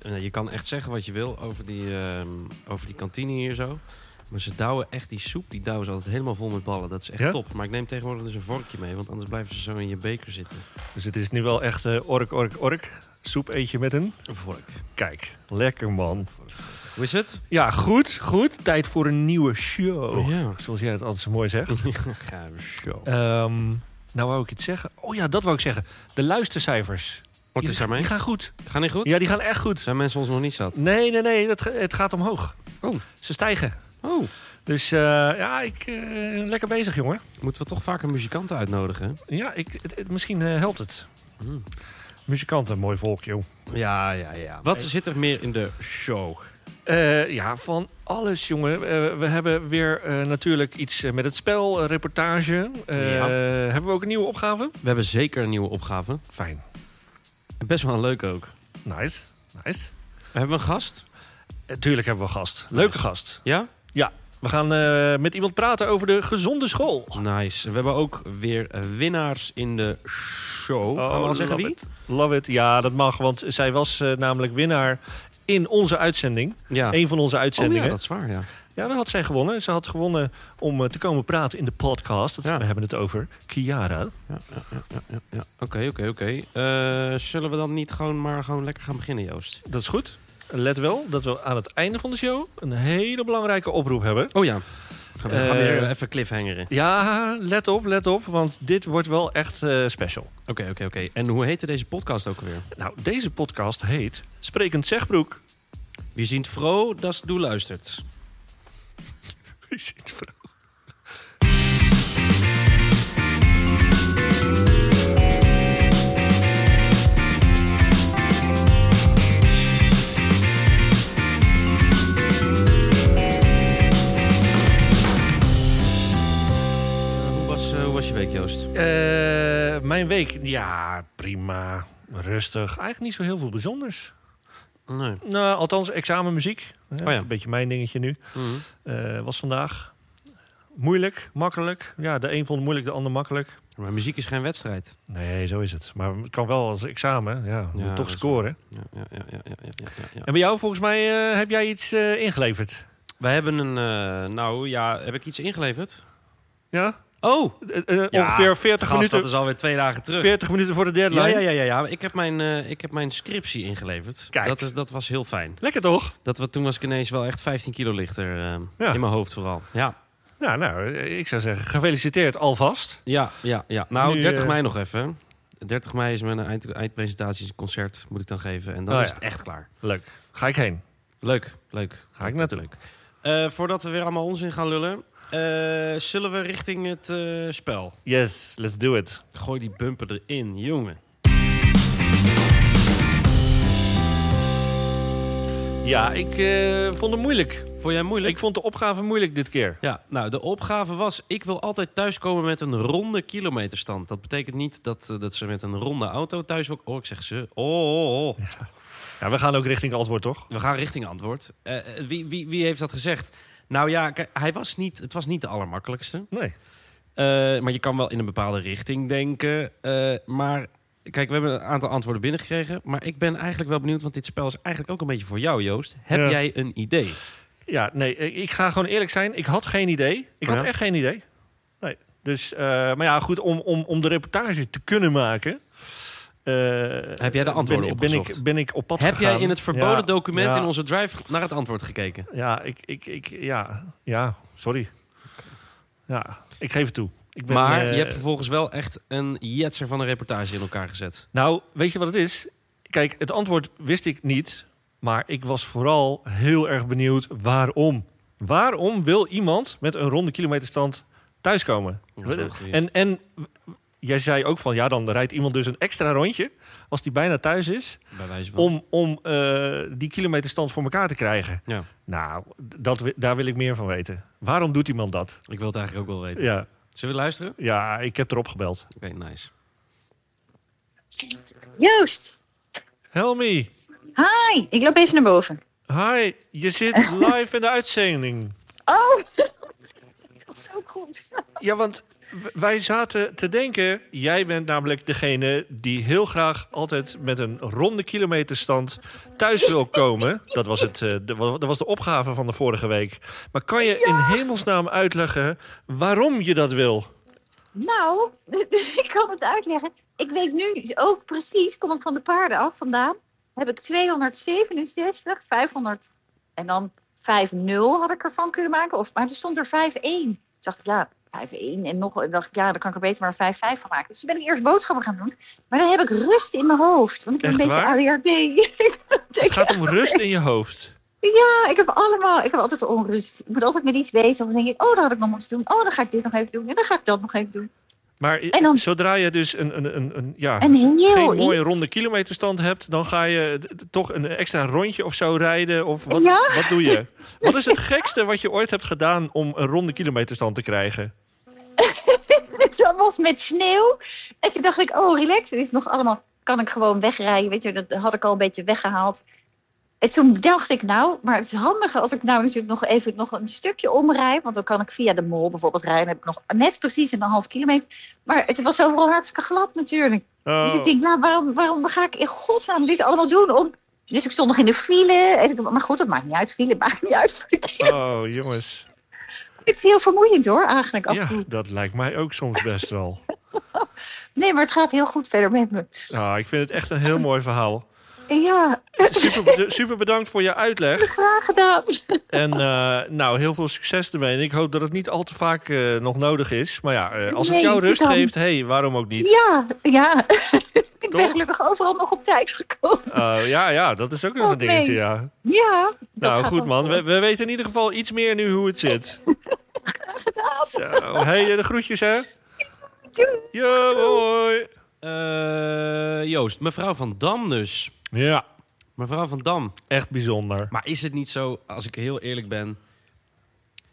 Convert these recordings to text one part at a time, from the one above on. eh, je kan echt zeggen wat je wil over die, ehm, over die kantine hier zo. Maar ze douwen echt die soep, die douwen ze altijd helemaal vol met ballen. Dat is echt Ja? top. Maar ik neem tegenwoordig dus een vorkje mee, want anders blijven ze zo in je beker zitten. Dus het is nu wel echt eh, ork, ork, ork. Soep eet je met een... Een vork. Kijk, lekker man. Hoe is het? Ja, goed, goed. Tijd voor een nieuwe show. Oh, Ja. Zoals jij het altijd zo mooi zegt. Gaaf show. Ehm, nou wou ik iets zeggen. Oh ja, dat wou ik zeggen. De luistercijfers. Wat die, is daarmee? die gaan goed. Gaan niet goed? Ja, die gaan echt goed. Zijn mensen ons nog niet zat? Nee, nee, nee. Dat, ga- het gaat omhoog. Oh. Ze stijgen. Oh, Dus eh, ja, ik, eh, lekker bezig, jongen. moeten we toch vaker muzikanten uitnodigen? Ja, ik, het, het- misschien eh, helpt het. Hmm. Muzikanten, mooi volk, joh. Ja, ja, ja. Wat zit er meer in de show? Eh, ja, van alles, jongen. Eh, we hebben weer eh, natuurlijk iets eh, met het spel, eh, reportage. Eh, Ja. Hebben we ook een nieuwe opgave? We hebben zeker een nieuwe opgave. Fijn. En Best wel een leuk ook. Nice. Nice. Hebben we een gast? Eh, tuurlijk hebben we een gast. Leuke gast. Ja? We gaan eh, met iemand praten over de gezonde school. Nice. We hebben ook weer eh, winnaars in de show. Oh, Gaan we al zeggen love wie? it. Love it. Ja, dat mag, want zij was eh, namelijk winnaar in onze uitzending. Ja. Een van onze Oh ja, uitzendingen. dat is waar, ja. Ja, dat had zij gewonnen. Ze had gewonnen om eh, te komen praten in de podcast. Dat- Ja. We hebben het over Kiara. Ja, ja, ja, ja, ja, ja. Oké, oké, oké. Eh, Zullen we dan niet gewoon maar gewoon lekker gaan beginnen, Joost? Dat is goed. Let wel dat we aan het einde van de show een hele belangrijke oproep hebben. Oh ja. Gaan we gaan Eh, weer even cliffhangeren. Ja, let op, let op, want dit wordt wel echt eh, special. Oké, oké, oké. En hoe heette deze podcast ook alweer? Nou, deze podcast heet Sprekend Zegbroek. Wie ziet Fro, dat doe luistert. Wie ziet vrouw? Hoe was, eh, hoe was je week, Joost? Eh, mijn week, ja, prima. Rustig. Eigenlijk niet zo heel veel bijzonders. Oh Nee. Nou, althans, examenmuziek. Hè, ja. dat is Een beetje mijn dingetje nu. Mhm. Eh, was vandaag. Moeilijk, makkelijk. Ja, de een vond het moeilijk, de ander makkelijk. Maar muziek is geen wedstrijd. Nee, zo is het. Maar het kan wel als examen. Ja, je Ja, moet dat toch is scoren. Ja, ja, ja, ja, ja, ja, ja, ja. En bij jou, volgens mij, eh, heb jij iets eh, ingeleverd. Wij hebben een... eh, nou ja, heb ik iets ingeleverd? Ja? Oh! Eh, eh, Ja, ongeveer 40 Gast, minuten, dat is alweer twee dagen terug. 40 minuten voor de deadline. Ja, ja, ja, ja, ja. Ik, heb mijn, eh, ik heb mijn scriptie ingeleverd. Kijk. Dat, is, dat was heel fijn. Lekker toch? Dat we, toen was ik ineens wel echt 15 kilo lichter. eh, Ja. In mijn hoofd vooral. Ja, Nou, nou, eh, ik zou zeggen, gefeliciteerd alvast. ja, ja. ja. Nou, Nu, 30 eh, mei nog even. 30 mei is mijn eind, eindpresentatie, is een concert moet ik dan geven. En dan Oh, is ja. het echt klaar. Leuk. Ga ik heen. Leuk, leuk. Ga ik naartoe. Eh, voordat we weer allemaal onzin gaan lullen, eh, zullen we richting het eh, spel. Yes, let's do it. Gooi die bumper erin, jongen. Ja, ik eh, vond het moeilijk. Vond jij moeilijk? Ik vond de opgave moeilijk dit keer. Ja, nou, de opgave was: ik wil altijd thuiskomen met een ronde kilometerstand. Dat betekent niet dat, eh, dat ze met een ronde auto thuis ook. Oh, ik zeg ze. Oh, oh, oh. Ja, we gaan ook richting antwoord, toch? we gaan richting antwoord. Eh, eh, wie, wie, wie heeft dat gezegd? Nou ja, kijk, hij was niet, het was niet de allermakkelijkste. Nee. Eh, maar je kan wel in een bepaalde richting denken. Eh, maar kijk, we hebben een aantal antwoorden binnengekregen. Maar ik ben eigenlijk wel benieuwd, want dit spel is eigenlijk ook een beetje voor jou, Joost. Heb Ja. jij een idee? Ja, nee, ik ik ga gewoon eerlijk zijn. Ik had geen idee. Ik had Ja. echt geen idee. Nee. Dus, eh, maar ja, goed, om, om, om de reportage te kunnen maken... eh, Heb jij de antwoorden ben, ben ik, opgezocht? ben ik op pad Heb jij gegaan. in het verboden Ja, document ja, in onze drive naar het antwoord gekeken? Ja, ik, ik, ik, ja, ja, sorry. Ja, ik geef het toe. Ik ben, maar eh, je hebt vervolgens wel echt een jetser van een reportage in elkaar gezet. Nou, weet je wat het is? Kijk, het antwoord wist ik niet. Maar ik was vooral heel erg benieuwd waarom. Waarom wil iemand met een ronde kilometerstand thuiskomen? Dat is wel een goeie. En, en jij zei ook van ja, dan rijdt iemand dus een extra rondje als die bijna thuis is. Bij wijze van. Om, om eh, die kilometerstand voor elkaar te krijgen. Ja, Nou, dat, wi- daar wil ik meer van weten. Waarom doet iemand dat? ik wil het eigenlijk ook wel weten. Ja, Zullen we luisteren? ja ik heb erop gebeld. Oké, nice. Joost, Helmi, hi, ik loop even naar boven. hi, je zit live in de uitzending. Oh, dat is ook goed. Ja, want w- wij zaten te denken, jij bent namelijk degene die heel graag altijd met een ronde kilometerstand thuis wil komen. Dat was, het, eh, de, wa- dat was de opgave van de vorige week. Maar kan je in hemelsnaam uitleggen waarom je dat wil? Nou, ik kan het uitleggen. Ik weet nu ook precies, kom ik van de paarden af vandaan, heb ik 267, 500 en dan 5-0 had ik ervan kunnen maken. Of, maar er stond er 5-1. Toen dacht ik, ja, 5-1 en nog, dan dacht ik, ja, dan kan ik er beter maar 5-5 van maken. Dus toen ben ik eerst boodschappen gaan doen. Maar dan heb ik rust in mijn hoofd, want ik ben Echt een beetje waar? ADHD. Het gaat om rust in je hoofd. Ja, ik heb allemaal, ik heb altijd onrust. Ik moet altijd met iets bezig. Dan denk ik, oh, dat had ik nog moeten doen. Oh, dan ga ik dit nog even doen. En dan ga ik dat nog even doen. Maar i- En dan- zodra je dus een, een, een, een, ja, En heel geen mooie iets- ronde kilometerstand hebt, dan ga je d- d- toch een extra rondje of zo rijden. Of wat, Ja. wat doe je? Wat is het gekste wat je ooit hebt gedaan om een ronde kilometerstand te krijgen? dat was met sneeuw. En toen dacht ik, oh, relax, het is nog allemaal... Kan ik gewoon wegrijden, weet je, dat had ik al een beetje weggehaald. En toen dacht ik, nou, maar het is handiger als ik nou natuurlijk nog even nog een stukje omrijd. Want dan kan ik via de mol bijvoorbeeld rijden. Dan heb ik nog net precies een half kilometer. Maar het was overal hartstikke glad natuurlijk. Dus ik Oh, denk, nou, waarom, waarom ga ik in godsnaam dit allemaal doen? Om... Dus ik stond nog in de file. En ik- maar goed, dat maakt niet uit. File maakt niet uit. oh, jongens. het is heel vermoeiend hoor, eigenlijk. Af en Ja, toe. dat lijkt mij ook soms best wel. Nee, maar het gaat heel goed verder met me. Nou, ik vind het echt een heel mooi verhaal. En ja, Super, bed- super bedankt voor je uitleg. graag gedaan. En eh, nou, heel veel succes ermee. En ik hoop dat het niet al te vaak eh, nog nodig is. Maar ja, eh, als het Nee, jou het rust kan. geeft, hé, hey, waarom ook niet? Ja, ja. ik ben Toch? gelukkig overal nog op tijd gekomen. Eh, ja, ja, dat is ook nog Oh, een dingetje, nee. ja. Ja. dat Nou, gaat goed wel man. goed. We, we weten in ieder geval iets meer nu hoe het zit. Zo. Hey, eh, de groetjes hè. Doei. Ja, hoi. Eh, Joost, mevrouw Van Dam dus. Ja, Mevrouw Van Dam. echt bijzonder. Maar is het niet zo, als ik heel eerlijk ben...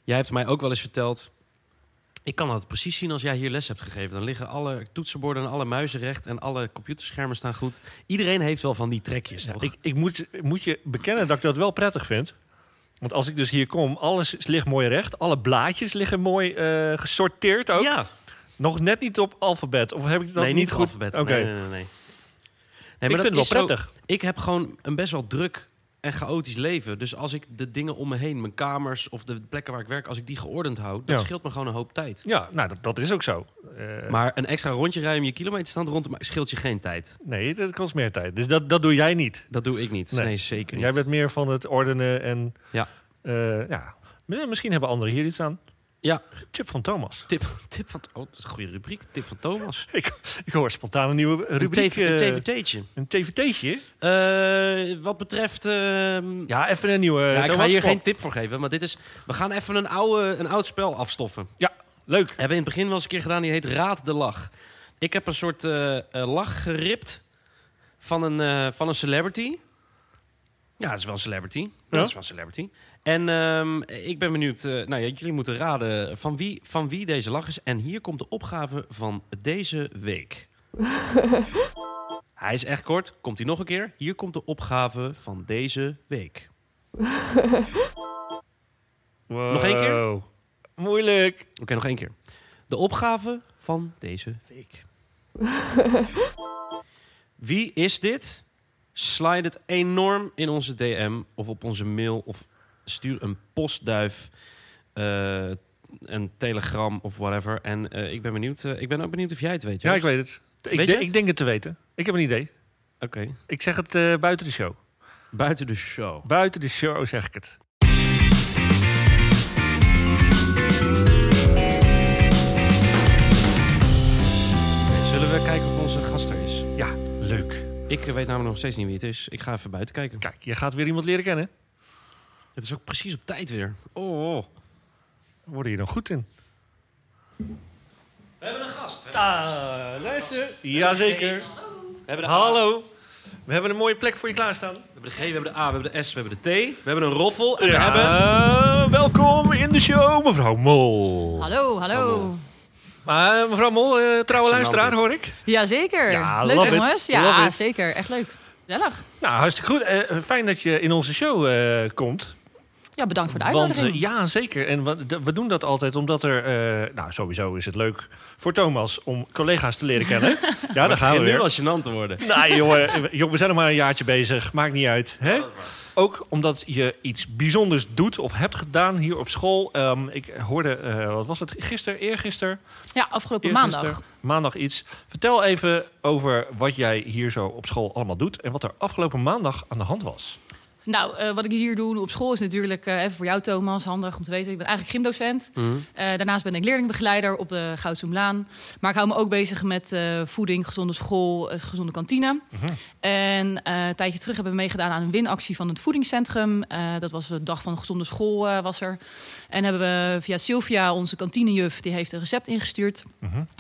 Jij hebt mij ook wel eens verteld... Ik kan dat precies zien als jij hier les hebt gegeven. Dan liggen alle toetsenborden en alle muizen recht... en alle computerschermen staan goed. Iedereen heeft wel van die trekjes, toch? Ik, ik moet, ik moet je bekennen dat ik dat wel prettig vind. Want als ik dus hier kom, alles is- ligt mooi recht. Alle blaadjes liggen mooi eh, gesorteerd ook. Ja, Nog net niet op alfabet. Of heb ik dat nee, niet niet goed? alfabet. Oké. Nee, nee, nee, nee. Nee, maar dat ik vind het is wel zo- prettig. ik heb gewoon een best wel druk en chaotisch leven. Dus als ik de dingen om me heen, mijn kamers of de plekken waar ik werk, als ik die geordend hou, dat Ja. scheelt me gewoon een hoop tijd. Ja, nou, dat, dat is ook zo. Eh, Maar een extra rondje rijden om je kilometerstand rond te maken, scheelt je geen tijd. nee, dat kost meer tijd. Dus dat, dat doe jij niet. Dat doe ik niet. Nee. Nee, zeker niet. Jij bent meer van het ordenen en... Ja. eh, ja. M- Misschien hebben anderen hier iets aan. Ja. Tip van Thomas. Tip, tip van... Oh, dat is een goede rubriek. Tip van Thomas. Ik, ik hoor spontaan een nieuwe rubriek. een, eh, TV, een TVT'tje. een TVT'tje. Eh, wat betreft... ehm, Ja, even een nieuwe. ja, ik ga Thomas, hier kom geen op. tip voor geven, maar dit is... We gaan even een, oude, een oud spel afstoffen. Ja, leuk. Hebben we in het begin wel eens een keer gedaan. Die heet Raad de Lach. Ik heb een soort eh, eh, lach geript van een, eh, van een celebrity. Ja, dat is wel een celebrity. Ja? Dat is wel een celebrity. En ehm, ik ben benieuwd... eh, nou ja, jullie moeten raden van wie, van wie deze lach is. En hier komt de opgave van deze week. hij is echt kort. Komt hij nog een keer? Hier komt de opgave van deze week. Nog één keer? Wow. Moeilijk. Oké, nog één keer. De opgave van deze week. Wie is dit? Slide het enorm in onze DM of op onze mail of stuur een postduif, eh, een telegram of whatever. En eh, ik ben benieuwd. eh, ik ben ook benieuwd of jij het weet. Ja, ik Joost. weet het. Ik, Weet je denk- het? ik denk het te weten. Ik heb een idee. Oké. Ik zeg het eh, buiten de show. Buiten de show. Buiten de show zeg ik het. Zullen we kijken of onze gast er is? Ja, leuk. Ik eh, weet namelijk nog steeds niet wie het is. Ik ga even buiten kijken. Kijk, je gaat weer iemand leren kennen. Het is ook precies op tijd weer. Oh. oh. We worden hier dan goed in. We hebben een gast. hè? Ah, luister. Jazeker. We hebben de Hallo. We hebben een mooie plek voor je klaarstaan. We hebben de G, we hebben de A, we hebben de S, we hebben de T. We hebben een roffel en we Ja, hebben... eh, welkom in de show, mevrouw Mol. Hallo, hallo. Maar mevrouw Mol, eh, trouwe Gênant luisteraar dit. hoor ik. Jazeker. eh, Ja, leuk love it, jongens. Ja, love it. zeker. Echt leuk. Gezellig. Nou, hartstikke goed. Eh, fijn dat je in onze show eh, komt. Ja, bedankt voor de Want, uitnodiging. eh, ja, zeker. En wa- d- we doen dat altijd omdat er... eh, nou, sowieso is het leuk voor Thomas om collega's te leren kennen. ja, daar gaan we begint nu weer. al gênant te worden. Nou, jongen, eh, jongen, we zijn nog maar een jaartje bezig. Maakt niet uit. Hè? Ook omdat je iets bijzonders doet of hebt gedaan hier op school. Ehm, ik hoorde, eh, wat was het, gisteren, eergisteren? ja, afgelopen Eergisteren, maandag. Maandag iets. Vertel even over wat jij hier zo op school allemaal doet... en wat er afgelopen maandag aan de hand was. Nou, eh, wat ik hier doe op school is natuurlijk eh, even voor jou, Thomas, handig om te weten. Ik ben eigenlijk gymdocent. Eh, daarnaast ben ik leerlingbegeleider op de Goudzoomlaan. Maar ik hou me ook bezig met eh, voeding, gezonde school, eh, gezonde kantine. En eh, een tijdje terug hebben we meegedaan aan een winactie van het voedingscentrum. Eh, dat was de dag van de gezonde school eh, was er. En hebben we via Sylvia, onze kantinejuf, die heeft een recept ingestuurd.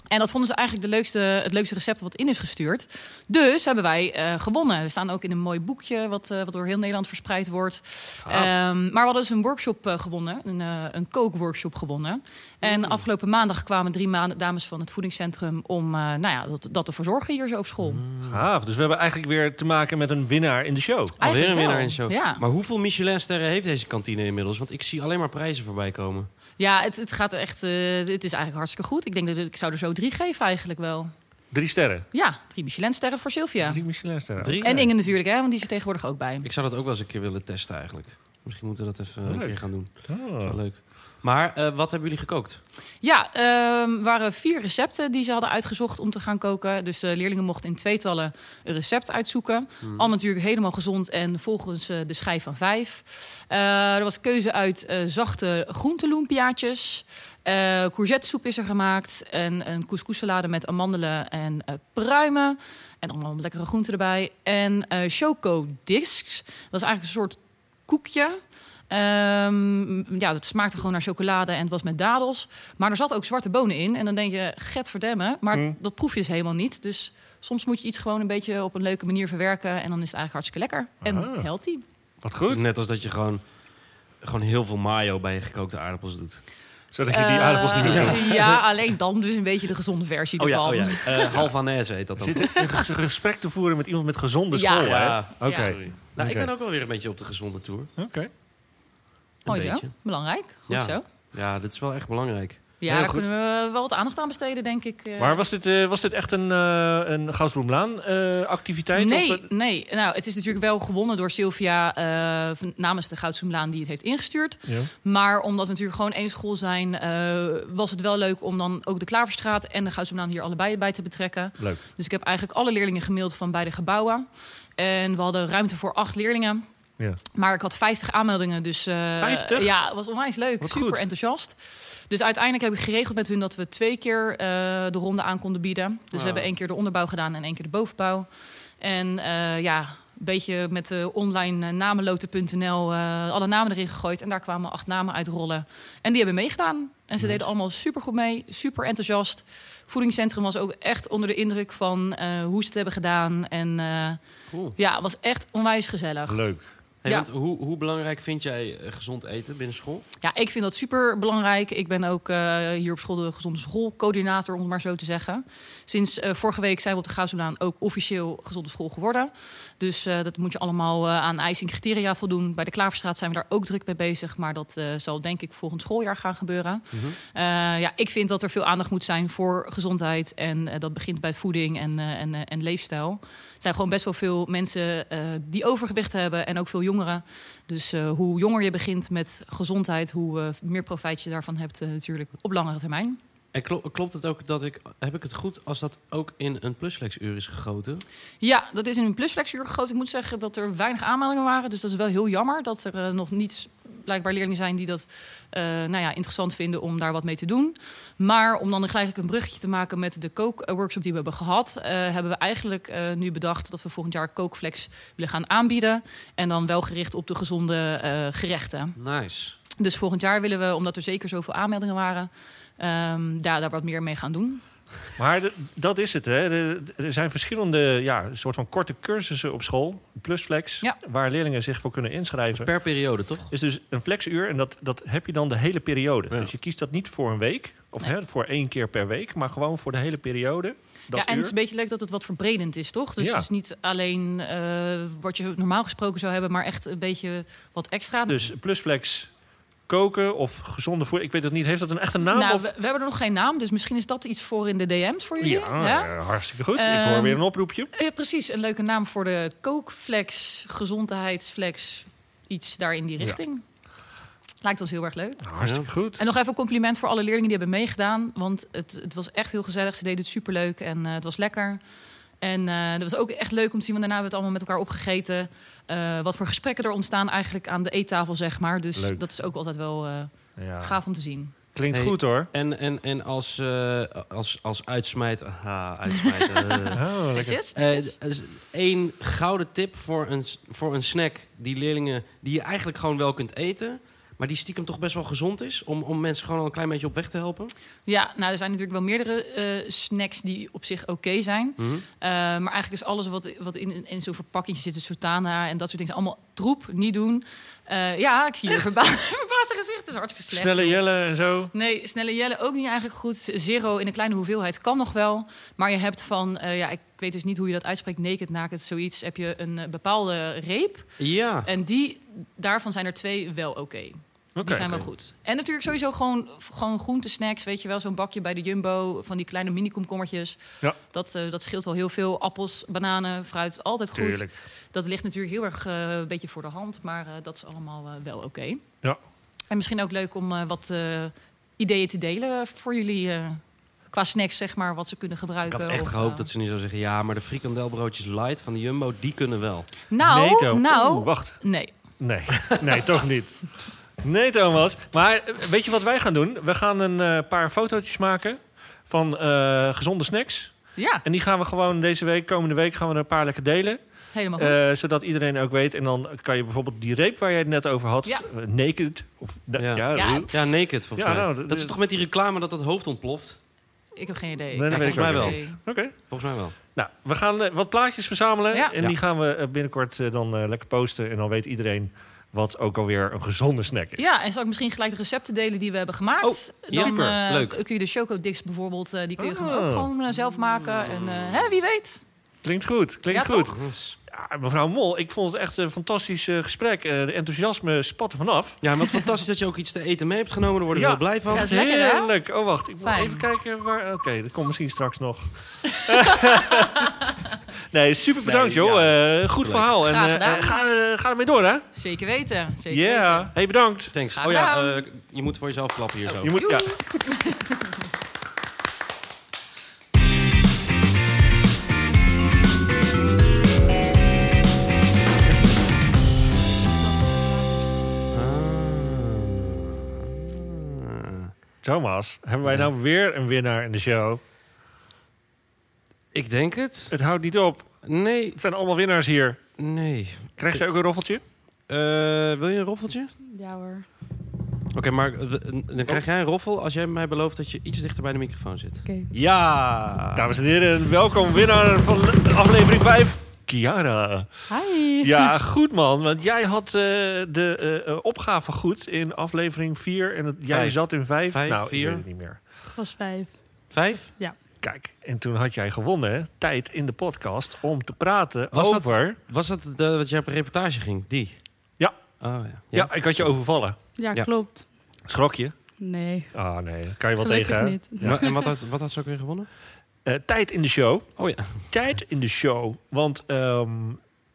En dat vonden ze eigenlijk de leukste, het leukste recept wat in is gestuurd. Dus hebben wij eh, gewonnen. We staan ook in een mooi boekje wat, eh, wat door heel Nederland verspreid wordt. Ehm, maar we hadden dus een workshop eh, gewonnen, een, eh een kookworkshop gewonnen. En afgelopen maandag kwamen drie ma- dames van het voedingscentrum om eh, nou ja, dat, dat te verzorgen hier zo op school. Mm, Gaaf. Dus we hebben eigenlijk weer te maken met een winnaar in de show. Alweer een Eigenlijk winnaar wel. in show. Ja. Maar hoeveel Michelin-sterren heeft deze kantine inmiddels? Want ik zie alleen maar prijzen voorbij komen. Ja, het, het gaat echt. eh, het is eigenlijk hartstikke goed. Ik denk dat ik zou er zo drie geven eigenlijk wel. Drie sterren. Ja, drie Michelinsterren voor Sylvia. Drie Michelinsterren. Drie? En Inge natuurlijk, hè, want die is er tegenwoordig ook bij. Ik zou dat ook wel eens een keer willen testen eigenlijk. Misschien moeten we dat even een Leuk. keer gaan doen. Oh. Wel leuk. Maar eh, wat hebben jullie gekookt? Ja, ehm, waren vier recepten die ze hadden uitgezocht om te gaan koken. Dus de leerlingen mochten in tweetallen een recept uitzoeken. Al natuurlijk helemaal gezond en volgens eh, de schijf van vijf. Eh, er was keuze uit eh, zachte groenteloempiaatjes. Eh courgettesoep is er gemaakt. En een couscoussalade met amandelen en eh, pruimen. En allemaal lekkere groenten erbij. En eh choco discs. Dat is eigenlijk een soort koekje. Ehm, ja, het smaakte gewoon naar chocolade en het was met dadels. Maar er zat ook zwarte bonen in. En dan denk je, get verdemmen. Maar dat proef je dus helemaal niet. Dus soms moet je iets gewoon een beetje op een leuke manier verwerken. En dan is het eigenlijk hartstikke lekker. En Ah. healthy. Wat Het is goed. net als dat je gewoon, gewoon heel veel mayo bij je gekookte aardappels doet. Zodat je die aardappels niet meer Eh, proeft. ja, alleen dan dus een beetje de gezonde versie Oh ja, ervan. oh ja. Eh, Halvanese heet dat dan. Zit een ge- gesprek te voeren met iemand met gezonde Ja. school, hè? Ja. Oké. Sorry. Nou, ik Oké. ben ook wel weer een beetje op de gezonde tour. Een Oké. Mooi zo. beetje. Belangrijk. Goed Ja. zo. Ja, dit is wel echt belangrijk. Ja, Heel daar goed. kunnen we wel wat aandacht aan besteden, denk ik. eh. Maar was dit, eh, was dit echt een, eh een Gauwsbloemlaan, eh, activiteit? Nee, Of, eh, nee. Nou, het is natuurlijk wel gewonnen door Sylvia eh, van- namens de Goudzoemlaan die het heeft ingestuurd. eh, ja. Maar omdat we natuurlijk gewoon één school zijn, eh, was het wel leuk om dan ook de Klaverstraat en de Goudzoomlaan hier allebei bij te betrekken. Leuk. Dus ik heb eigenlijk alle leerlingen gemaild van beide gebouwen. En we hadden ruimte voor acht leerlingen. Ja. Maar ik had 50 aanmeldingen, dus... eh 50? Ja, het was onwijs leuk. Wat Super goed. enthousiast. Dus uiteindelijk heb ik geregeld met hun dat we twee keer eh, de ronde aan konden bieden. Dus Oh. Wauw. we hebben één keer de onderbouw gedaan en één keer de bovenbouw. En eh, ja, een beetje met de online eh, namenloten.nl eh, alle namen erin gegooid. En daar kwamen acht namen uitrollen. En die hebben meegedaan. En ze deden allemaal supergoed mee, super enthousiast. Voedingscentrum was ook echt onder de indruk van eh, hoe ze het hebben gedaan. En eh, Cool. ja, het was echt onwijs gezellig. Leuk. Hey, Ja. want hoe, hoe belangrijk vind jij eh, gezond eten binnen school? Ja, ik vind dat super belangrijk. Ik ben ook eh, hier op school de gezonde schoolcoördinator, om het maar zo te zeggen. Sinds eh, vorige week zijn we op de Gauwslaan ook officieel gezonde school geworden. Dus eh, dat moet je allemaal eh, aan eisen en criteria voldoen. Bij de Klaverstraat zijn we daar ook druk mee bezig. Maar dat eh, zal denk ik volgend schooljaar gaan gebeuren. Eh, ja, ik vind dat er veel aandacht moet zijn voor gezondheid. En eh, dat begint bij voeding en, eh, en, eh, en leefstijl. Er zijn gewoon best wel veel mensen eh, die overgewicht hebben. En ook veel jongeren. Dus eh, hoe jonger je begint met gezondheid, hoe eh, meer profijt je daarvan hebt eh, natuurlijk op langere termijn. En Eh, klo- klopt het ook dat ik, heb ik het goed als dat ook in een plusflexuur is gegoten? Ja, dat is in een plusflexuur gegoten. Ik moet zeggen dat er weinig aanmeldingen waren. Dus dat is wel heel jammer dat er eh, nog niet blijkbaar leerlingen zijn die dat eh, nou ja, interessant vinden om daar wat mee te doen. Maar om dan gelijk een bruggetje te maken met de kookworkshop die we hebben gehad, eh, hebben we eigenlijk eh, nu bedacht dat we volgend jaar kookflex willen gaan aanbieden. En dan wel gericht op de gezonde eh, gerechten. Nice. Dus volgend jaar willen we, omdat er zeker zoveel aanmeldingen waren, ehm, daar, daar wat meer mee gaan doen. Maar de- dat is het, hè. De- de- Er zijn verschillende, ja, soort van korte cursussen op school. Plusflex, Ja. waar leerlingen zich voor kunnen inschrijven. Per periode, toch? is dus een flexuur en dat, dat heb je dan de hele periode. Ja. Dus je kiest dat niet voor een week. Of Nee. hè, voor één keer per week, maar gewoon voor de hele periode. Dat ja, en het is uur. een beetje leuk dat het wat verbredend is, toch? Dus Ja. het is niet alleen eh, wat je normaal gesproken zou hebben, maar echt een beetje wat extra. Dus plusflex koken of gezonde voeding. Ik weet het niet. Heeft dat een echte naam? nou, of... we, we hebben er nog geen naam, dus misschien is dat iets voor in de DM's voor jullie. ja, eh, hartstikke goed. Ik hoor Ehm, weer een oproepje. Eh, precies, een leuke naam voor de kookflex, gezondheidsflex, iets daar in die richting. Lijkt ons heel erg leuk. Hartstikke goed. En nog even een compliment voor alle leerlingen die hebben meegedaan. Want het, het was echt heel gezellig. Ze deden het superleuk en eh, het was lekker. En eh dat was ook echt leuk om te zien, want daarna hebben we het allemaal met elkaar opgegeten. Eh, wat voor gesprekken er ontstaan eigenlijk aan de eettafel, zeg maar. Dus Leuk. dat is ook altijd wel eh, Ja. gaaf om te zien. Klinkt Hey. goed hoor. En, en, en als, eh, als, als uitsmijt... Aha, uitsmijt. eh. Oh, lekker. Netjes, Eh, netjes. d- is één gouden tip voor een, s- voor een snack die leerlingen die je eigenlijk gewoon wel kunt eten, maar die stiekem toch best wel gezond is, om, om mensen gewoon al een klein beetje op weg te helpen. Ja, nou, er zijn natuurlijk wel meerdere eh, snacks die op zich oké zijn. Mhm. Eh, maar eigenlijk is alles wat, wat in, in zo'n verpakkingje zit, dus Sultana en dat soort dingen, is allemaal troep, niet doen. Eh, ja, ik zie je verba- verbaasde gezichten, dat is hartstikke slecht. Snelle Jelle en zo. Nee, snelle Jelle ook niet eigenlijk goed. Zero in een kleine hoeveelheid kan nog wel. Maar je hebt van, eh, ja, ik weet dus niet hoe je dat uitspreekt, naked, naked, zoiets. Heb je een eh, bepaalde reep. Ja. En die, daarvan zijn er twee wel oké. Oké. Die zijn wel goed. En natuurlijk sowieso gewoon, gewoon groentesnacks. Weet je wel, zo'n bakje bij de Jumbo. Van die kleine mini-komkommertjes. Ja. Dat, eh, dat scheelt al heel veel. Appels, bananen, fruit, altijd goed. Tuurlijk. Dat ligt natuurlijk heel erg eh, een beetje voor de hand. Maar eh, dat is allemaal eh, wel oké. Ja. En misschien ook leuk om eh, wat eh, ideeën te delen voor jullie. eh, qua snacks, zeg maar, wat ze kunnen Ik gebruiken. had echt of, gehoopt eh, dat ze niet zou zeggen, ja, maar de frikandelbroodjes light van de Jumbo, die kunnen wel. Nou, nee, Toon. nou... Oeh, wacht. Nee. Nee. Nee, toch niet. Nee, Thomas. Maar eh, weet je wat wij gaan doen? We gaan een eh, paar fotootjes maken van eh, gezonde snacks. Ja, En die gaan we gewoon deze week, komende week, gaan we er een paar lekker delen. helemaal goed. Eh, zodat iedereen ook weet. En dan kan je bijvoorbeeld die reep waar jij het net over had. Ja. eh, naked. Of, da- Ja. ja. Ja, eh, Ja, naked volgens Ja, mij. nou, dat, dat- is toch met die reclame dat dat hoofd ontploft? ik heb geen idee. Nee, dat Ja, weet ik volgens ook mij niet. wel. Oké. Volgens mij wel. Nou, we gaan eh, wat plaatjes verzamelen. Ja. En Ja. die gaan we eh, binnenkort eh, dan eh, lekker posten. En dan weet iedereen wat ook alweer een gezonde snack is. Ja, en zal ik misschien gelijk de recepten delen die we hebben gemaakt? Oh, ja. Dan Super, eh, leuk. kun je de chocodix bijvoorbeeld, eh, die kun je gewoon Oh. ook gewoon eh, zelf maken. En eh, hè, wie weet. Klinkt goed. Klinkt Ja, goed. toch? Yes. Ja, mevrouw Mol, ik vond het echt een fantastisch eh, gesprek. Eh, de enthousiasme spat er vanaf. Ja, en wat fantastisch dat je ook iets te eten mee hebt genomen. Daar worden we Ja. heel blij van. Ja, Echt is lekker, hè? Heerlijk. Oh, wacht. Ik moet Fijn. even kijken waar... Oké, dat komt misschien straks nog. nee, super bedankt, Nee, joh. ja. Eh, goed verhaal. En Graag eh, gedaan. ga, eh, ga ermee door, hè? Zeker weten. Zeker Ja. weten. Hey, bedankt. Thanks. Graag Oh ja, gedaan. eh, je moet voor jezelf klappen hier zo. Je moet... Ja. Ah. Thomas, hebben wij nou weer een winnaar in de show? Ik denk het. Het houdt niet op. Nee, Het zijn allemaal winnaars hier. nee. Krijg ze ook een roffeltje? Eh, wil je een roffeltje? Ja hoor. Oké, maar eh, we- eh, dan krijg jij een roffel als jij mij belooft dat je iets dichter bij de microfoon zit. Oké. Ja! Dames en heren, welkom winnaar van le- aflevering 5. Kiara. Hi. Ja, goed man. Want jij had eh, de eh, eh, opgave goed in aflevering 4. En het- jij Vijf. zat in 5. Vijf, nou, ik vier. weet het niet meer. was vijf. Vijf? Kijk, en toen had jij gewonnen hè, tijd in de podcast om te praten Was dat- over... Was dat de, wat jij op een reportage ging? Die? Ja. Oh ja. Ja? ik had je overvallen. Ja, Ja. klopt. Schrok je? Nee, Ah nee, daar kan je wel gelukkig tegen. hè? niet. Maar- en wat had, wat had ze ook weer gewonnen? Eh, tijd in de show. Oh ja. tijd in de show. Want ehm,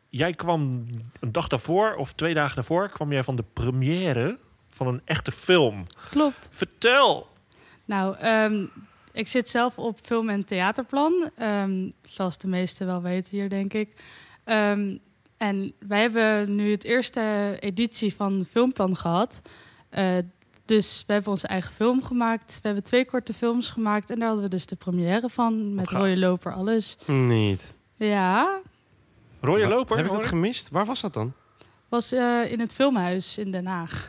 jij kwam een dag daarvoor of twee dagen daarvoor... kwam jij van de première van een echte film. Klopt. Vertel! Nou, ehm, ik zit zelf op film- en theaterplan. ehm, zoals de meesten wel weten hier, denk ik. Ehm, en wij hebben nu het eerste editie van Filmplan gehad. Eh, dus we hebben onze eigen film gemaakt. We hebben twee korte films gemaakt. En daar hadden we dus de première van. Met gaaf. rode loper, alles. Niet. Ja, Rode Wa- loper? Heb ik dat hoor gemist? Waar was dat dan? was eh, in het filmhuis in Den Haag.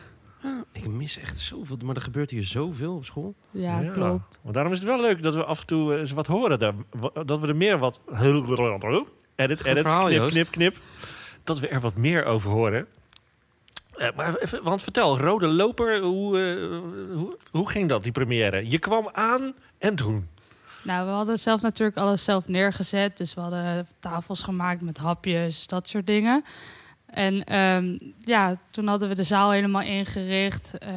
Ik mis echt zoveel, maar er gebeurt hier zoveel op school. Ja, Ja. klopt. Want daarom is het wel leuk dat we af en toe eh, eens wat horen. daar. Wa- Dat we er meer wat... Edit, edit, verhaal, knip, Joost. knip, knip. Dat we er wat meer over horen. Eh, maar even, want vertel, Rode Loper, hoe, eh, hoe, hoe ging dat, die première? Je kwam aan en toen. Nou, we hadden zelf natuurlijk alles zelf neergezet. Dus we hadden tafels gemaakt met hapjes, dat soort dingen. En ehm, ja, toen hadden we de zaal helemaal ingericht. Eh,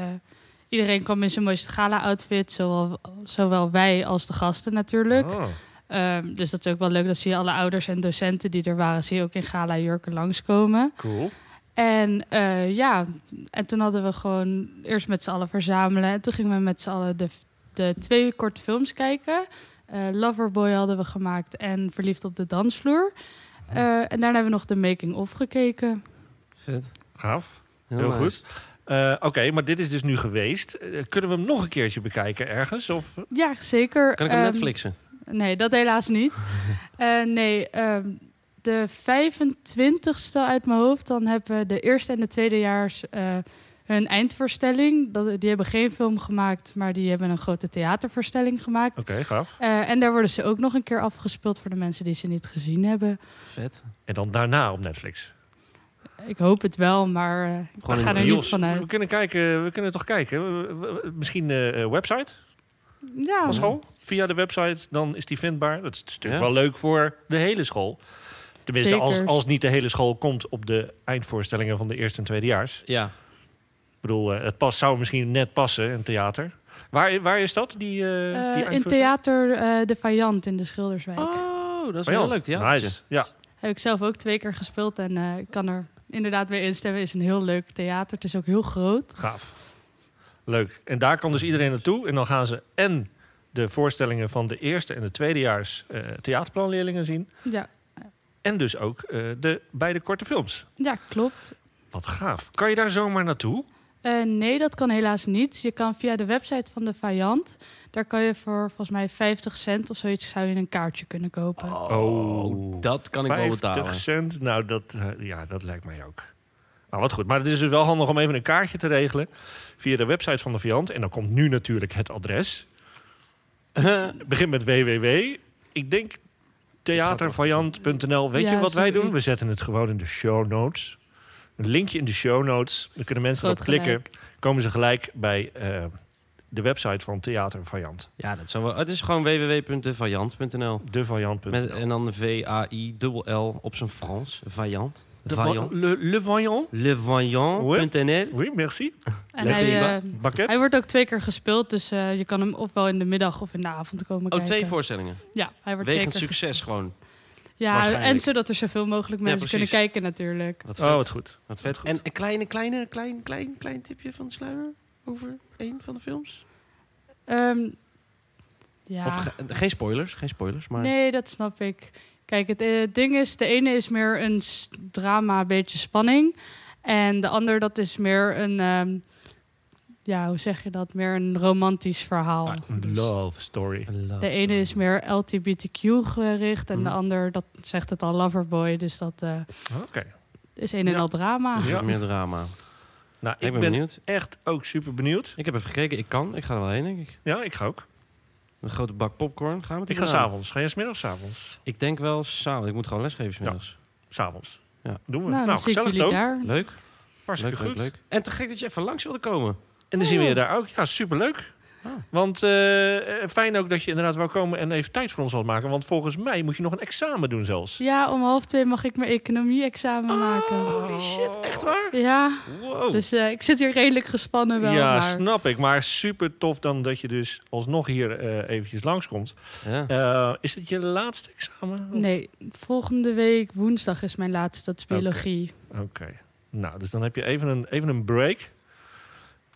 iedereen kwam in zijn mooiste gala-outfit. Zowel, zowel wij als de gasten natuurlijk. Oh. Ehm, dus dat is ook wel leuk. Dat zie je alle ouders en docenten die er waren... zie je ook in gala-jurken langskomen. Cool. En eh, ja, en toen hadden we gewoon eerst met z'n allen verzamelen. En toen gingen we met z'n allen de, de twee korte films kijken. Eh, Loverboy hadden we gemaakt en Verliefd op de dansvloer. Hm. Eh, en daarna hebben we nog de making-of gekeken. Vet. Gaaf. Heel nice. goed. Eh, Oké, maar dit is dus nu geweest. Eh, kunnen we hem nog een keertje bekijken ergens? Of... Ja, zeker. Kan ik hem Ehm, Netflixen? Nee, dat helaas niet. Eh, nee, ehm, de 25ste uit mijn hoofd, dan hebben de eerste en de tweedejaars eh hun eindvoorstelling. Dat, die hebben geen film gemaakt, maar die hebben een grote theatervoorstelling gemaakt. Oké, gaaf. Eh, en daar worden ze ook nog een keer afgespeeld voor de mensen die ze niet gezien hebben. Vet. En dan daarna op Netflix. Ik hoop het wel, maar eh, ik Gewoon in ga de er niet bios. We vanuit. kunnen, kijken, we kunnen toch kijken. We- we- we- Misschien eh, eh, website Ja, van school? Via de website, dan is die vindbaar. Dat is natuurlijk Ja. wel leuk voor de hele school. Tenminste, als, Zeker. als niet de hele school komt op de eindvoorstellingen van de eerste en tweedejaars. Ja. Ik bedoel, eh, het pas, zou misschien net passen, een theater. Waar, waar is dat, die, eh, die Eh, in eindvoorstelling? theater eh, De Vijand in de Schilderswijk. Oh, dat is Bij wel een ons. leuk theatertje. Nice. Ja. Heb ik zelf ook twee keer gespeeld en eh, ik kan er inderdaad weer instemmen. Het is een heel leuk theater. Het is ook heel groot. Gaaf. Leuk. En daar kan dus iedereen naartoe. En dan gaan ze en de voorstellingen van de eerste en de tweedejaars eh theaterplanleerlingen zien. Ja, En dus ook eh, de beide korte films. ja klopt. Wat gaaf. Kan je daar zomaar naartoe? Eh, nee, dat kan helaas niet. Je kan via de website van de Vijand. Daar kan je voor volgens mij 50 cent of zoiets zou je een kaartje kunnen kopen. Oh, dat kan ik wel 50 betalen. cent. Nou, dat, eh, ja, dat lijkt mij ook. Maar wat goed. Maar het is dus wel handig om even een kaartje te regelen via de website van de Viand. En dan komt nu natuurlijk het adres. Begin met www. Ik denk theatervijand.nl. Weet je Ja, wat wij doen? zoiets. We zetten het gewoon in de show notes. Een linkje in de show notes. Dan kunnen mensen Groot erop klikken. Komen ze gelijk bij eh, de website van Theater Vijand. Ja, dat zou wel. Het is gewoon www.vajant.nl. De Vijand.nl. Met- eh, En dan V-A-I-L-L op zijn Frans. Vajant. De Va- Vajant. Le, Le Vijand. Levajant.nl. Oh, Oui, merci. En Lekker. hij, eh, Bakket. hij wordt ook twee keer gespeeld. Dus eh, je kan hem ofwel in de middag of in de avond komen Oh, kijken. twee voorstellingen. Ja, hij wordt twee Wegens keer succes gewoon. ge- Ja, waarschijnlijk. en zodat er zoveel mogelijk mensen kunnen precies. kijken natuurlijk. Wat vet. Oh, wat goed. Wat vet. En een kleine, kleine, klein, klein, klein tipje van de sluier over een van de films? Ehm, ja. Of ge- geen spoilers, geen spoilers, maar... Nee, dat snap ik. Kijk, het eh, ding is, de ene is meer een s- drama, een beetje spanning. En de ander, dat is meer een, ehm, ja, hoe zeg je dat? Meer een romantisch verhaal. Een Dus love story. de ene is meer LGBTQ gericht en de Mhm. ander, dat zegt het al, loverboy. Dus dat eh, Oké. is een en Ja. al drama. Ja. Meer drama. Nou, Ik, ik ben, ben benieuwd. echt ook super benieuwd. Ik heb even gekeken. Ik kan. Ik ga er wel heen, denk ik. Ja, ik ga ook. Een grote bak popcorn. Gaan we het Ik ga doen? s'avonds. Ga jij s'middags? S'avonds. Ik denk wel samen. Ik moet gewoon lesgeven smiddags. S'avonds. Ja. Doen we. Nou, dan zie ik jullie Toon. daar. Leuk. Hartstikke Leuk, leuk, goed. leuk. En te gek dat je even langs wilde komen. En dan zien we Oh, je daar ook. Ja, superleuk. Ah. Want eh, eh, fijn ook dat je inderdaad wou komen en even tijd voor ons wilt maken. Want volgens mij moet je nog een examen doen zelfs. Ja, om half twee mag ik mijn economie-examen maken. Oh, Oh. Holy shit, echt waar? Ja, Wow. dus eh, ik zit hier redelijk gespannen wel. ja, maar... snap ik. Maar super tof dan dat je dus alsnog hier eh eventjes langskomt. Ja. Eh, is het je laatste examen? Of- Nee, volgende week woensdag is mijn laatste, dat is Oké. biologie. Oké. Nou, dus dan heb je even een, even een break.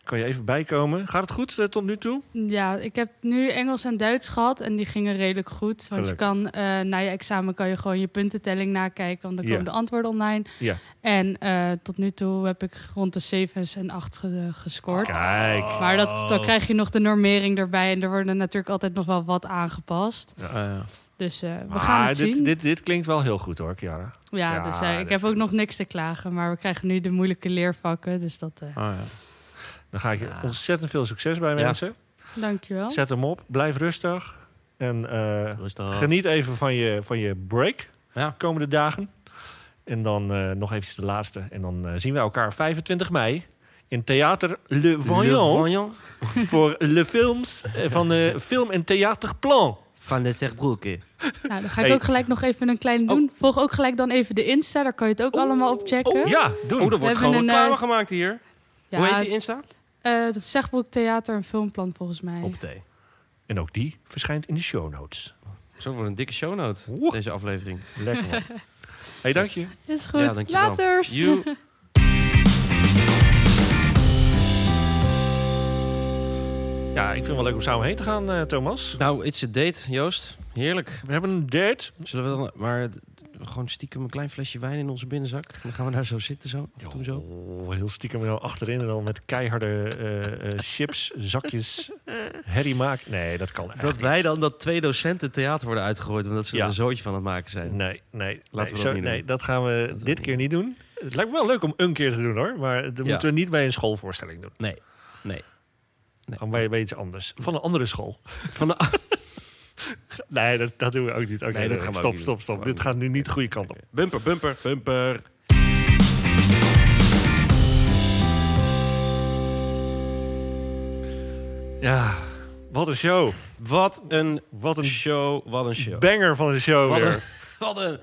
Kan je even bijkomen. Gaat het goed eh, tot nu toe? Ja, ik heb nu Engels en Duits gehad en die gingen redelijk goed. Want Gelukkig. je kan eh, na je examen kan je gewoon je puntentelling nakijken, want dan Ja. komen de antwoorden online. Ja. En eh, tot nu toe heb ik rond de 7 en 8 ge- gescoord. Kijk. Oh. Maar dat, dan krijg je nog de normering erbij en er worden natuurlijk altijd nog wel wat aangepast. Eh, Dus eh, we Maar gaan het dit, zien. Dit, dit klinkt wel heel goed hoor, Chiara. ja, ja, dus eh, dit- ik heb ook nog niks te klagen, maar we krijgen nu de moeilijke leervakken. Dus dat, eh ah, ja. Dan ga ik je Ja. ontzettend veel succes bij Ja. mensen. Oh. dankjewel. Zet hem op. Blijf rustig. En eh, Rustig. geniet even van je, van je break. Ja. Komende dagen. En dan eh, nog eventjes de laatste. En dan eh, zien we elkaar 25 mei in Theater Le Voyant. Voyant voor Le Films eh, van de Film en Theaterplan. van de Zegbroeke. Nou, dan ga ik Hey. ook gelijk nog even een Oh. klein doen. Volg ook gelijk dan even de Insta, daar kan je het ook allemaal op checken. Ja, doen. Oh, er wordt hebben gewoon een, reclame eh, gemaakt hier. Ja, Hoe heet die Insta? eh, het Zegbroek Theater en Filmplan volgens mij. Op thee. En ook die verschijnt in de show notes. Zo wordt een dikke shownote, Oeh. deze aflevering. Lekker. man. hey, dank je. Is goed. Ja, dankjewel. Laters! You. Ja, ik vind het wel leuk om samen heen te gaan, eh, Thomas. Nou, it's a date, Joost. Heerlijk. We hebben een date. Zullen we dan maar d- gewoon stiekem een klein flesje wijn in onze binnenzak? En dan gaan we daar zo zitten, zo. Af en toe zo. Oh, heel stiekem wel achterin en dan met keiharde eh, eh, chips, zakjes, herrie maken. Nee, dat kan echt Dat wij dan dat twee docenten het theater worden uitgegooid... omdat ze Ja. er een zootje van aan het maken niet. zijn. Nee, nee. we nee, dat zo- niet doen. Nee, dat gaan we doen dit we keer niet doen. Het lijkt me wel leuk om een keer te doen, hoor. Maar dat Ja. moeten we niet bij een schoolvoorstelling doen. Nee. Nee. Nee. Gewoon bij, bij iets anders. Van een andere school. Van de- Nee, dat, dat doen we ook niet. Oké, Nee, dat gaan we stop, ook niet stop, doen. stop. Gaan we Dit gaat nu niet de goede kant op. bumper, bumper, bumper. Ja, wat een show. Wat een Wat een show, wat een show. banger van de show Wat weer. een, wat een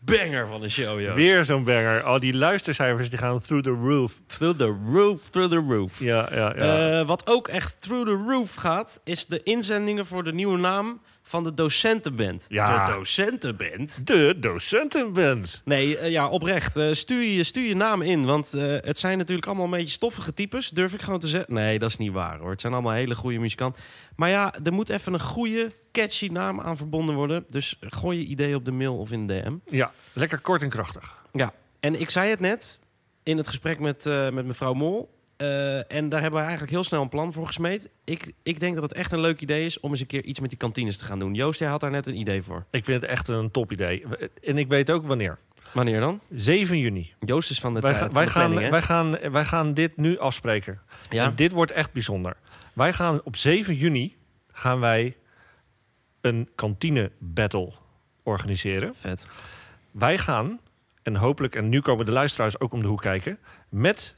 banger van een show, Joost. Weer zo'n banger. Al die luistercijfers die gaan through the roof. Through the roof, through the roof. Ja, ja, ja. Eh, wat ook echt through the roof gaat, is de inzendingen voor de nieuwe naam van de docentenband. Ja. De docentenband? de docentenband. Nee, eh, ja, oprecht. Eh, stuur, je, stuur je naam in, want eh, het zijn natuurlijk allemaal een beetje stoffige types, durf ik gewoon te zeggen. Nee, dat is niet waar hoor. Het zijn allemaal hele goede muzikanten. Maar ja, er moet even een goede, catchy naam aan verbonden worden. Dus gooi je idee op de mail of in de DM. Ja, lekker kort en krachtig. Ja, en ik zei het net in het gesprek met, eh, met mevrouw Mol. Eh, en daar hebben we eigenlijk heel snel een plan voor gesmeed. Ik, ik denk dat het echt een leuk idee is om eens een keer iets met die kantines te gaan doen. Joost, jij had daar net een idee voor. Ik vind het echt een top idee. En ik weet ook wanneer. Wanneer dan? 7 juni. Joost is van de Wij, tijd. gaan, van wij, de gaan, planning, hè? wij, gaan, wij gaan dit nu afspreken. ja? En dit wordt echt bijzonder. Wij gaan op 7 juni gaan wij een kantine battle organiseren. Vet. Wij gaan, en hopelijk, en nu komen de luisteraars ook om de hoek kijken, met,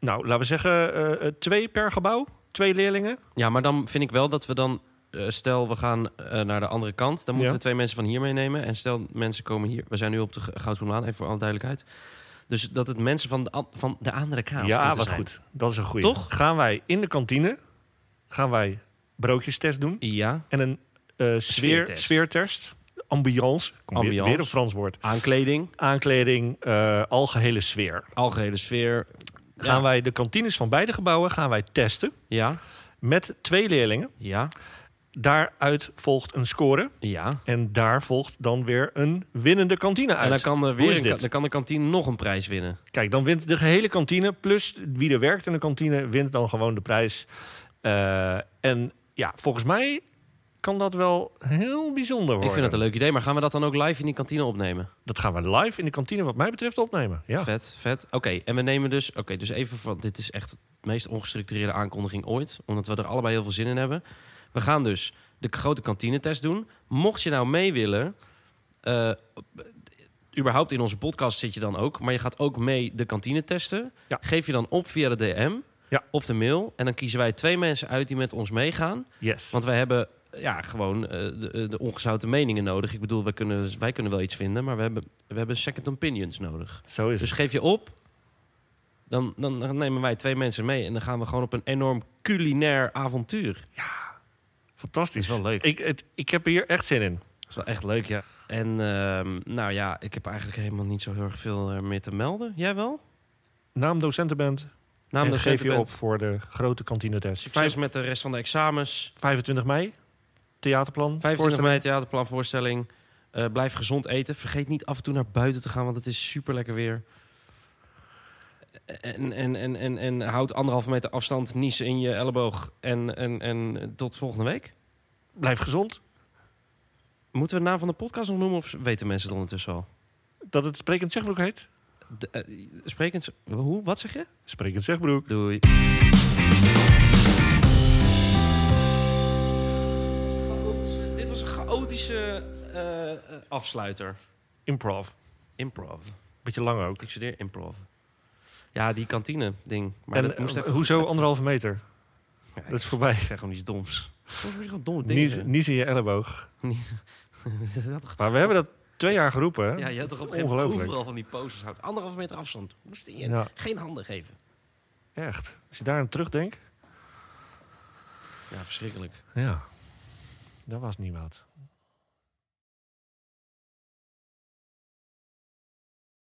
nou, laten we zeggen, eh, eh, twee per gebouw, twee leerlingen. Ja, maar dan vind ik wel dat we dan... eh, stel, we gaan eh, naar de andere kant. Dan moeten Ja. we twee mensen van hier meenemen. En stel, mensen komen hier. We zijn nu op de G- Goudhoenlaan, even voor alle duidelijkheid. Dus dat het mensen van de, an- van de andere kant ja, moeten wat zijn. goed. Dat is een goede. Toch? Gaan wij in de kantine, gaan wij broodjestest doen Ja, en een eh sfeer, Sfeertest. sfeertest. Ambiance, Kom, weer- Ambiance. Weer, een Frans woord. aankleding. Aankleding, eh, algehele sfeer. algehele sfeer. Gaan Ja. wij de kantines van beide gebouwen gaan wij testen Ja, met twee leerlingen. ja, Daaruit volgt een score ja. en daar volgt dan weer een winnende kantine uit. En dan kan, er Hoe weer is een ka- dit? dan kan de kantine nog een prijs winnen. Kijk, dan wint de gehele kantine. Plus wie er werkt in de kantine, wint dan gewoon de prijs. Eh, en ja, volgens mij kan dat wel heel bijzonder worden. Ik vind dat een leuk idee, maar gaan we dat dan ook live in die kantine opnemen? Dat gaan we live in de kantine, wat mij betreft, opnemen. Ja. Vet, vet. Oké, en we nemen dus... Oké, dus even van... Dit is echt de meest ongestructureerde aankondiging ooit. Omdat we er allebei heel veel zin in hebben. We gaan dus de k- grote kantinetest doen. Mocht je nou mee willen... eh, überhaupt in onze podcast zit je dan ook. Maar je gaat ook mee de kantine testen. Ja. Geef je dan op via de DM Ja. of de mail. En dan kiezen wij twee mensen uit die met ons meegaan. Yes. Want wij hebben ja, gewoon eh, de, de ongezouten meningen nodig. Ik bedoel, wij kunnen, wij kunnen wel iets vinden, maar we hebben, we hebben second opinions nodig. Zo is Dus het. geef je op, dan, dan, dan nemen wij twee mensen mee... en dan gaan we gewoon op een enorm culinair avontuur. Fantastisch. is wel leuk. Ik, het, ik heb hier echt zin in. Dat is wel echt leuk, ja. En ehm, nou ja, ik heb eigenlijk helemaal niet zo heel erg veel eh, meer te melden. Jij wel? Naam docentenband. Naam en de geef je op docentenband. voor de grote kantinetest. Succes met de rest van de examens. 25 mei. Theaterplan. 25 voorstelling. mei theaterplanvoorstelling. Eh, blijf gezond eten. Vergeet niet af en toe naar buiten te gaan, want het is super lekker weer. En, en, en, en, en houd anderhalve meter afstand, niezen in je elleboog. En, en, en eh, tot volgende week. Blijf gezond. Moeten we de naam van de podcast nog noemen of weten mensen het ondertussen al? Dat het Sprekend Zegbroek heet. De, eh, sprekend, hoe? Wat zeg je? Sprekend Zegbroek. Doei. Dit was een chaotische eh, eh, afsluiter. Improv. Improv. Beetje lang ook. Ik studeer improv. Ja, die kantine-ding. Maar dat en moest eh, even hoezo uit- anderhalve meter? Ja, ik Dat is voorbij. zeg gewoon iets doms. Soms moet je gewoon domme dingen Niet, zeggen. niet in je elleboog. Dat toch- Maar we hebben dat twee jaar geroepen. hè? Ja, je hebt toch Dat is op een gegeven moment ongelooflijk. overal van die posters houdt. Anderhalve meter afstand. Moest je Ja. geen handen geven. Echt. Als je daar aan terugdenkt. Ja, verschrikkelijk. Ja. Dat was niet wat.